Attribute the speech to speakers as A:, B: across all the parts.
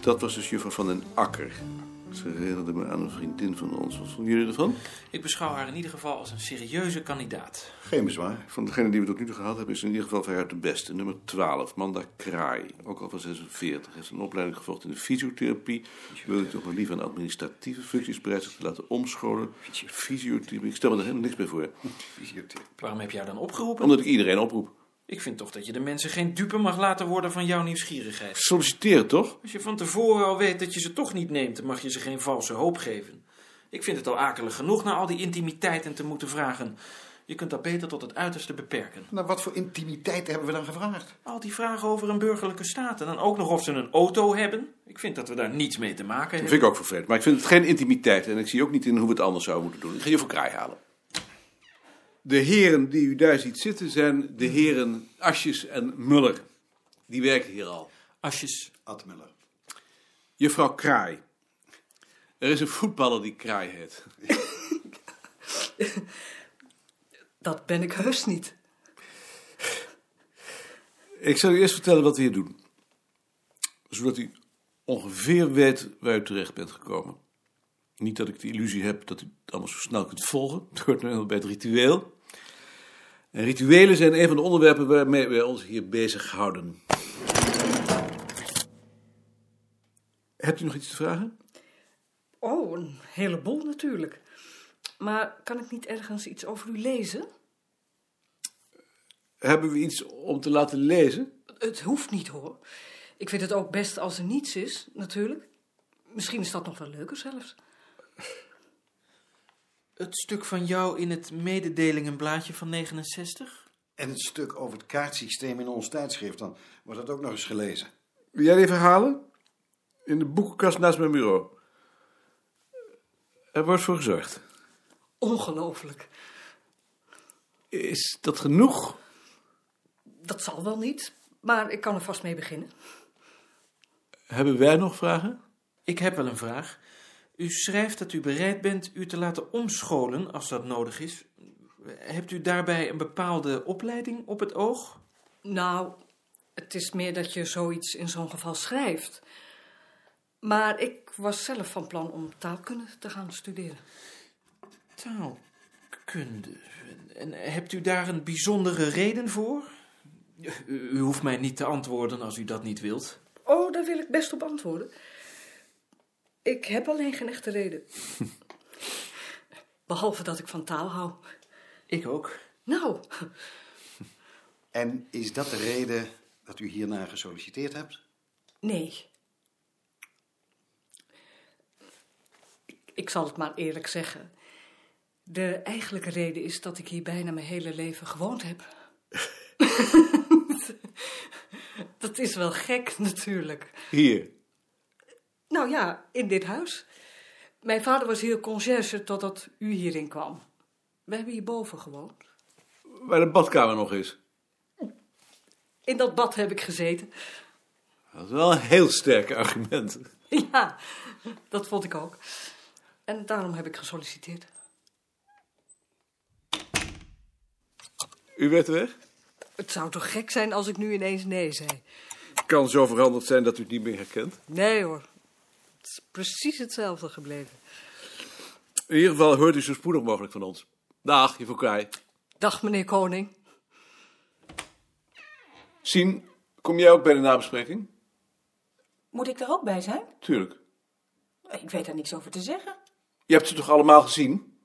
A: Dat was dus juffrouw van den Akker. Ze herinnerde me aan een vriendin van ons. Wat vonden jullie ervan?
B: Ik beschouw haar in ieder geval als een serieuze kandidaat.
C: Geen bezwaar.
A: Van degene die we tot nu toe gehad hebben is in ieder geval veruit de beste. Nummer 12, Manda Kraai. Ook al van 46. Heeft een opleiding gevolgd in de fysiotherapie. Wil ik toch maar liever aan administratieve functies bereid zich te laten omscholen. Fysiotherapie. Ik stel me er helemaal niks bij voor.
B: Waarom heb jij haar dan opgeroepen?
A: Omdat ik iedereen oproep.
B: Ik vind toch dat je de mensen geen dupe mag laten worden van jouw nieuwsgierigheid.
A: Solliciteren toch?
B: Als je van tevoren al weet dat je ze toch niet neemt, dan mag je ze geen valse hoop geven. Ik vind het al akelig genoeg na al die intimiteit en te moeten vragen. Je kunt dat beter tot het uiterste beperken.
C: Nou, wat voor intimiteit hebben we dan gevraagd?
B: Al die vragen over een burgerlijke staat en dan ook nog of ze een auto hebben. Ik vind dat we daar niets mee te maken
A: Dat
B: hebben.
A: vind ik ook vervelend. Maar ik vind het geen intimiteit. En ik zie ook niet in hoe we het anders zouden moeten doen. Ik ga juffrouw Kraai halen. De heren die u daar ziet zitten zijn de heren Asjes en Muller. Die werken hier al.
B: Asjes.
C: Ad Muller.
A: Juffrouw Kraai. Er is een voetballer die Kraai heet.
D: Dat ben ik heus niet.
A: Ik zal u eerst vertellen wat we hier doen. Zodat u ongeveer weet waar u terecht bent gekomen. Niet dat ik de illusie heb dat u het allemaal zo snel kunt volgen. Het hoort nu helemaal bij het ritueel. En rituelen zijn een van de onderwerpen waarmee wij ons hier bezighouden. Hebt u nog iets te vragen?
D: Oh, een heleboel natuurlijk. Maar kan ik niet ergens iets over u lezen?
A: Hebben we iets om te laten lezen?
D: Het hoeft niet hoor. Ik vind het ook best als er niets is, natuurlijk. Misschien is dat nog wel leuker zelfs.
B: Het stuk van jou in het mededelingenblaadje van 69?
C: En het stuk over het kaartsysteem in ons tijdschrift, dan wordt dat ook nog eens gelezen.
A: Wil jij die verhalen? In de boekenkast naast mijn bureau. Er wordt voor gezorgd.
D: Ongelooflijk.
A: Is dat genoeg?
D: Dat zal wel niet, maar ik kan er vast mee beginnen.
A: Hebben wij nog vragen?
B: Ik heb wel een vraag. U schrijft dat u bereid bent u te laten omscholen als dat nodig is. Hebt u daarbij een bepaalde opleiding op het oog?
D: Nou, het is meer dat je zoiets in zo'n geval schrijft. Maar ik was zelf van plan om taalkunde te gaan studeren.
B: Taalkunde. En hebt u daar een bijzondere reden voor? U, u hoeft mij niet te antwoorden als u dat niet wilt.
D: Oh, daar wil ik best op antwoorden. Ik heb alleen geen echte reden. Behalve dat ik van taal hou.
B: Ik ook.
D: Nou,
C: En is dat de reden dat u hierna gesolliciteerd hebt?
D: nee. Ik, ik zal het maar eerlijk zeggen. De eigenlijke reden is dat ik hier bijna mijn hele leven gewoond heb. dat is wel gek natuurlijk.
A: Hier.
D: Nou ja, in dit huis. Mijn vader was hier conciërge totdat u hierin kwam. We hebben hierboven gewoond.
A: Waar de badkamer nog is.
D: In dat bad heb ik gezeten.
A: Dat is wel een heel sterk argument.
D: Ja, dat vond ik ook. En daarom heb ik gesolliciteerd.
A: U werd weg?
D: Het zou toch gek zijn als ik nu ineens nee zei?
A: Kan zo veranderd zijn dat u het niet meer herkent.
D: Nee hoor. Het is precies hetzelfde gebleven.
A: In ieder geval hoort u zo spoedig mogelijk van ons. Dag, juffrouw Kraai.
D: Dag meneer Koning.
A: Sien, kom jij ook bij de nabespreking?
E: Moet ik er ook bij zijn?
A: Tuurlijk.
E: Ik weet daar niks over te zeggen.
A: Je hebt ze toch allemaal gezien?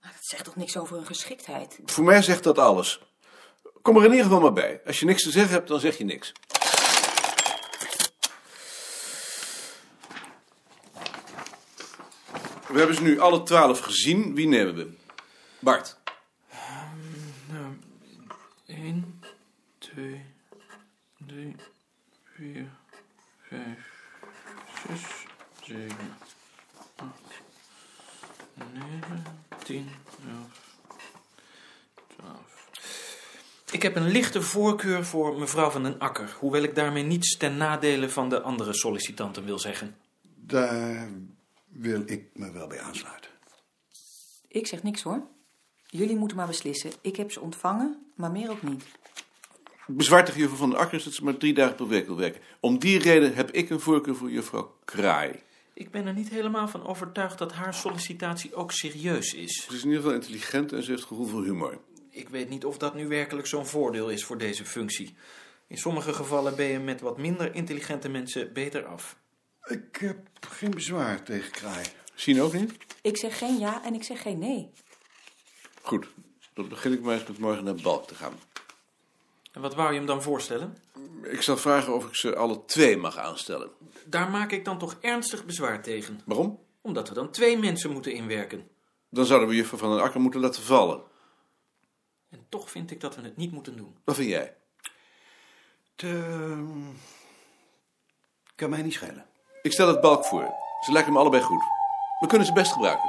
E: Maar dat zegt toch niks over hun geschiktheid?
A: Voor mij zegt dat alles. Kom er in ieder geval maar bij. Als je niks te zeggen hebt, dan zeg je niks. We hebben ze nu alle twaalf gezien. Wie nemen we? Bart.
B: Eén, twee, drie, vier, vijf, zes, zeven, acht, negen, tien, elf, twaalf. Ik heb een lichte voorkeur voor mevrouw van den Akker, hoewel ik daarmee niets ten nadele van de andere sollicitanten wil zeggen.
C: Daar wil ik me wel bij aansluiten.
E: Ik zeg niks hoor. Jullie moeten maar beslissen. Ik heb ze ontvangen, maar meer ook niet.
A: bezwaar tegen juffrouw van der Akkers dat ze maar drie dagen per week wil werken. Om die reden heb ik een voorkeur voor juffrouw Kraai.
B: Ik ben er niet helemaal van overtuigd dat haar sollicitatie ook serieus is.
A: Ze is in ieder geval intelligent en ze heeft gevoel voor humor.
B: Ik weet niet of dat nu werkelijk zo'n voordeel is voor deze functie. In sommige gevallen ben je met wat minder intelligente mensen beter af.
C: Ik heb geen bezwaar tegen Kraai.
A: Zien ook niet?
E: Ik zeg geen ja en ik zeg geen nee.
A: Goed, dan begin ik maar eens met morgen naar Balk te gaan.
B: En wat wou je hem dan voorstellen?
A: Ik zal vragen of ik ze alle twee mag aanstellen.
B: Daar maak ik dan toch ernstig bezwaar tegen.
A: Waarom?
B: Omdat we dan twee mensen moeten inwerken.
A: Dan zouden we juffrouw van den Akker moeten laten vallen.
B: En toch vind ik dat we het niet moeten doen.
A: Wat vind jij?
C: Het ehm, kan mij niet schelen.
A: Ik stel het Balk voor. Ze lijken me allebei goed. We kunnen ze best gebruiken.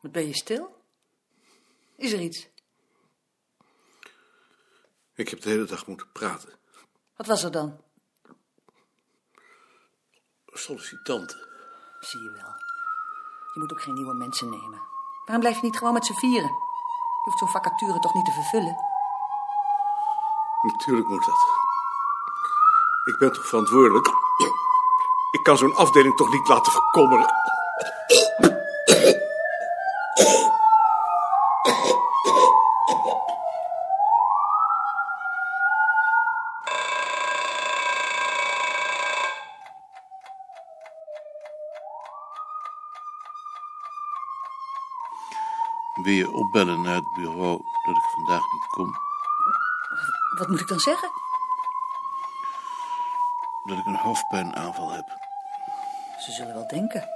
F: Wat ben je stil? Is er iets?
A: Ik heb de hele dag moeten praten.
F: Wat was er dan?
A: Sollicitanten.
F: Zie je wel. Je moet ook geen nieuwe mensen nemen. Waarom blijf je niet gewoon met z'n vieren? Je hoeft zo'n vacature toch niet te vervullen?
A: Natuurlijk moet dat. Ik ben toch verantwoordelijk? Ik kan zo'n afdeling toch niet laten verkommeren? Wil je opbellen naar het bureau dat ik vandaag niet kom?
F: Wat moet ik dan zeggen?
A: dat ik een hoofdpijnaanval heb.
F: Ze zullen wel denken.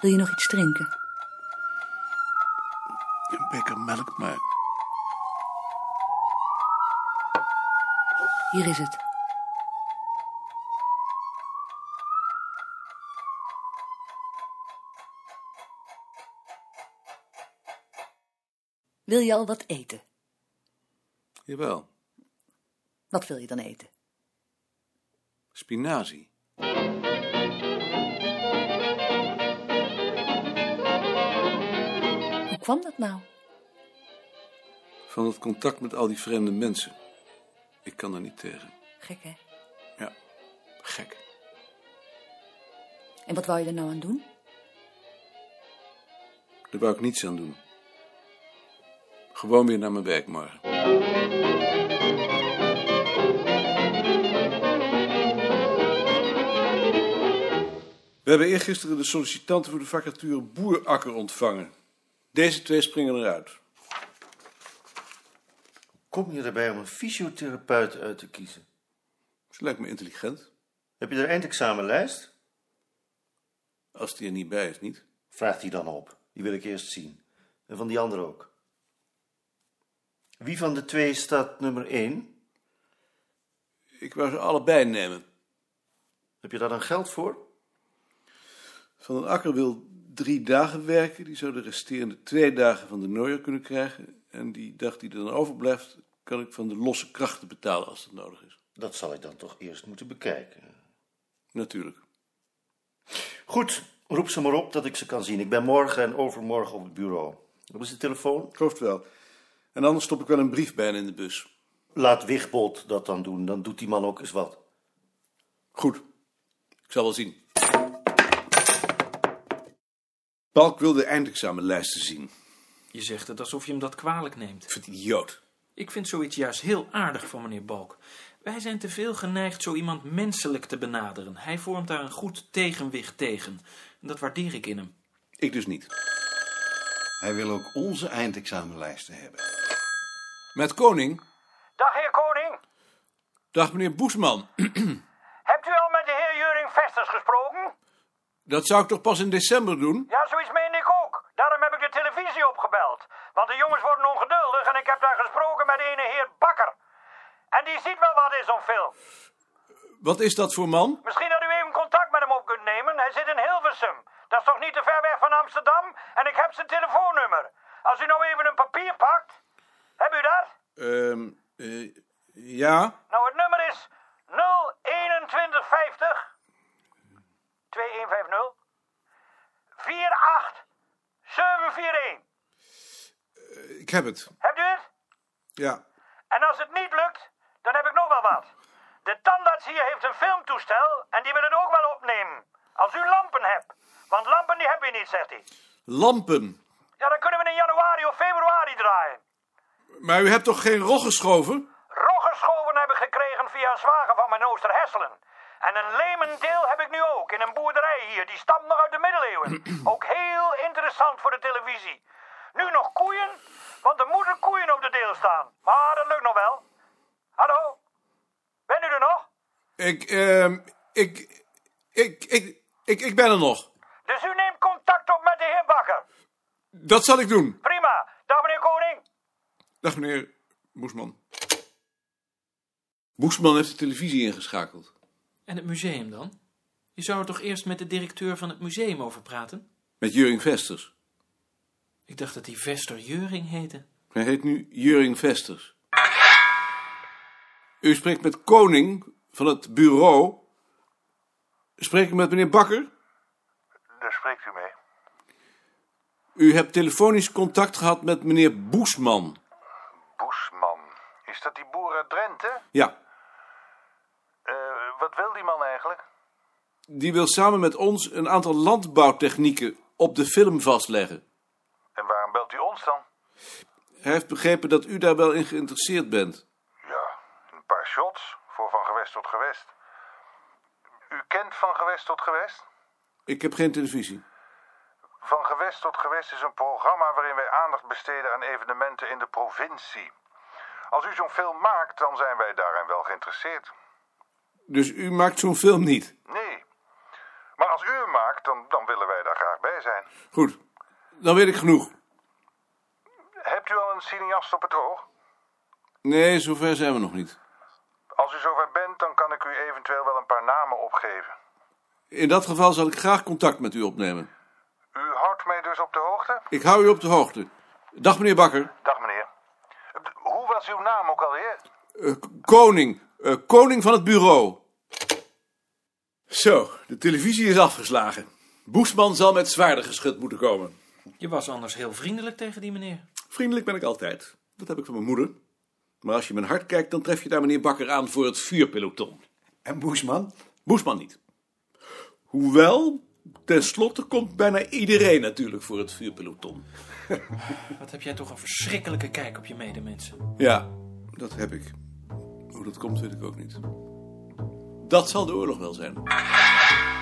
F: Wil je nog iets drinken?
A: Een beker melk maar.
F: Hier is het. Wil je al wat eten?
A: Jawel,
F: Wat wil je dan eten?
A: spinazie.
F: Hoe kwam dat nou?
A: Van het contact met al die vreemde mensen. Ik kan er niet tegen.
F: Gek, hè?
A: Ja, gek.
F: En wat wou je er nou aan doen?
A: Daar wou ik niets aan doen. Gewoon weer naar mijn werk morgen. We hebben eergisteren de sollicitanten voor de vacature Boerakker ontvangen. Deze twee springen eruit.
G: Kom je erbij om een fysiotherapeut uit te kiezen?
A: Ze lijkt me intelligent.
G: Heb je er eindexamenlijst?
A: Als die er niet bij is, niet?
G: Vraag die dan op. Die wil ik eerst zien. En van die andere ook. Wie van de twee staat nummer 1?
A: Ik wou ze allebei nemen.
G: Heb je daar dan geld voor?
A: Van den Akker wil drie dagen werken. Die zou de resterende twee dagen van de Nooier kunnen krijgen. En die dag die er dan overblijft, kan ik van de losse krachten betalen als dat nodig is.
G: Dat zal ik dan toch eerst moeten bekijken.
A: Natuurlijk.
G: Goed, roep ze maar op dat ik ze kan zien. Ik ben morgen en overmorgen op het bureau. Wat is de telefoon?
A: Ik geloof het wel. En anders stop ik wel een brief bij hen in de bus.
G: Laat Wigbold dat dan doen. Dan doet die man ook eens wat.
A: Goed. Ik zal wel zien. Balk wil de eindexamenlijsten zien.
B: Je zegt het alsof je hem dat kwalijk neemt.
A: Ik vind het idioot.
B: Ik vind zoiets juist heel aardig van meneer Balk. Wij zijn te veel geneigd zo iemand menselijk te benaderen. Hij vormt daar een goed tegenwicht tegen. En dat waardeer ik in hem.
A: Ik dus niet.
C: Hij wil ook onze eindexamenlijsten hebben.
A: Met Koning.
H: Dag heer Koning.
A: Dag meneer Boesman.
H: Hebt u al met de heer Juring Vesters gesproken?
A: Dat zou ik toch pas in december doen?
H: Ja, zoiets meende ik ook. Daarom heb ik de televisie opgebeld. Want de jongens worden ongeduldig en ik heb daar gesproken met ene heer Bakker. En die ziet wel wat in zo'n film.
A: Wat is dat voor man?
H: Misschien dat u even contact met hem op kunt nemen. Hij zit in Hilversum. Dat is toch niet te ver weg van Amsterdam? En ik heb zijn telefoonnummer. Als u nou even een papier pakt. Hebt u dat?
A: Ehm ja.
H: Nou, het nummer is 0 741.
A: Ik heb het.
H: Hebt u het?
A: Ja.
H: En als het niet lukt, dan heb ik nog wel wat. De tandarts hier heeft een filmtoestel en die wil het ook wel opnemen. Als u lampen hebt. Want lampen die heb je niet, zegt hij.
A: Lampen.
H: Ja, dan kunnen we in januari of februari draaien.
A: Maar u hebt toch geen rog geschoven?
H: Roggeschoven heb ik gekregen via een zwager van mijn Oosterhesselen. En een lemendeel heb ik nu ook in een boerderij hier. Die stamt nog uit de middeleeuwen. ook heel interessant voor de televisie. Nu nog koeien, want er moeten koeien op de deel staan. Maar dat lukt nog wel. Hallo? Bent u er nog?
A: Ik, ehm, ik, ik, ik, ik, ik ben er nog.
H: Dus u neemt contact op met de heer Bakker.
A: Dat zal ik doen.
H: Prima. Dag meneer Koning.
A: Dag meneer Boesman. Boesman heeft de televisie ingeschakeld.
B: En het museum dan? Je zou er toch eerst met de directeur van het museum over praten?
A: Met Juring Vesters.
B: Ik dacht dat die Vester Juring heette.
A: Hij heet nu Juring Vesters. U spreekt met Koning van het bureau. Spreek ik met meneer Bakker?
I: Daar spreekt u mee.
A: U hebt telefonisch contact gehad met meneer Boesman.
I: Boesman. Is dat die boer uit Drenthe?
A: Ja,
I: Eh, wat wil die man eigenlijk?
A: die wil samen met ons een aantal landbouwtechnieken op de film vastleggen.
I: En waarom belt u ons dan?
A: Hij heeft begrepen dat u daar wel in geïnteresseerd bent.
I: Ja, een paar shots voor van gewest tot gewest. U kent van gewest tot gewest?
A: Ik heb geen televisie.
I: Van gewest tot gewest is een programma waarin wij aandacht besteden aan evenementen in de provincie. Als u zo'n film maakt, dan zijn wij daarin wel geïnteresseerd.
A: Dus u maakt zo'n film niet.
I: Nee. Maar als u hem maakt, dan, dan willen wij daar graag bij zijn.
A: Goed, dan weet ik genoeg.
I: Hebt u al een cineast op het oog?
A: Nee, zover zijn we nog niet.
I: Als u zover bent, dan kan ik u eventueel wel een paar namen opgeven.
A: In dat geval zal ik graag contact met u opnemen.
I: U houdt mij dus op de hoogte?
A: Ik hou u op de hoogte. Dag meneer Bakker.
I: Dag meneer. D- Hoe was uw naam ook alweer?
A: Eh, k- koning. Eh, koning van het bureau. Zo, de televisie is afgeslagen. Boesman zal met zwaarder geschud moeten komen.
B: Je was anders heel vriendelijk tegen die meneer.
A: Vriendelijk ben ik altijd. Dat heb ik van mijn moeder. Maar als je mijn hart kijkt, dan tref je daar meneer Bakker aan voor het vuurpeloton.
C: En Boesman?
A: Boesman niet. Hoewel, tenslotte komt bijna iedereen natuurlijk voor het vuurpeloton.
B: Wat heb jij toch een verschrikkelijke kijk op je medemensen.
A: Ja, dat heb ik. Oh, Hoe dat komt, weet ik ook niet. Dat zal de oorlog wel zijn.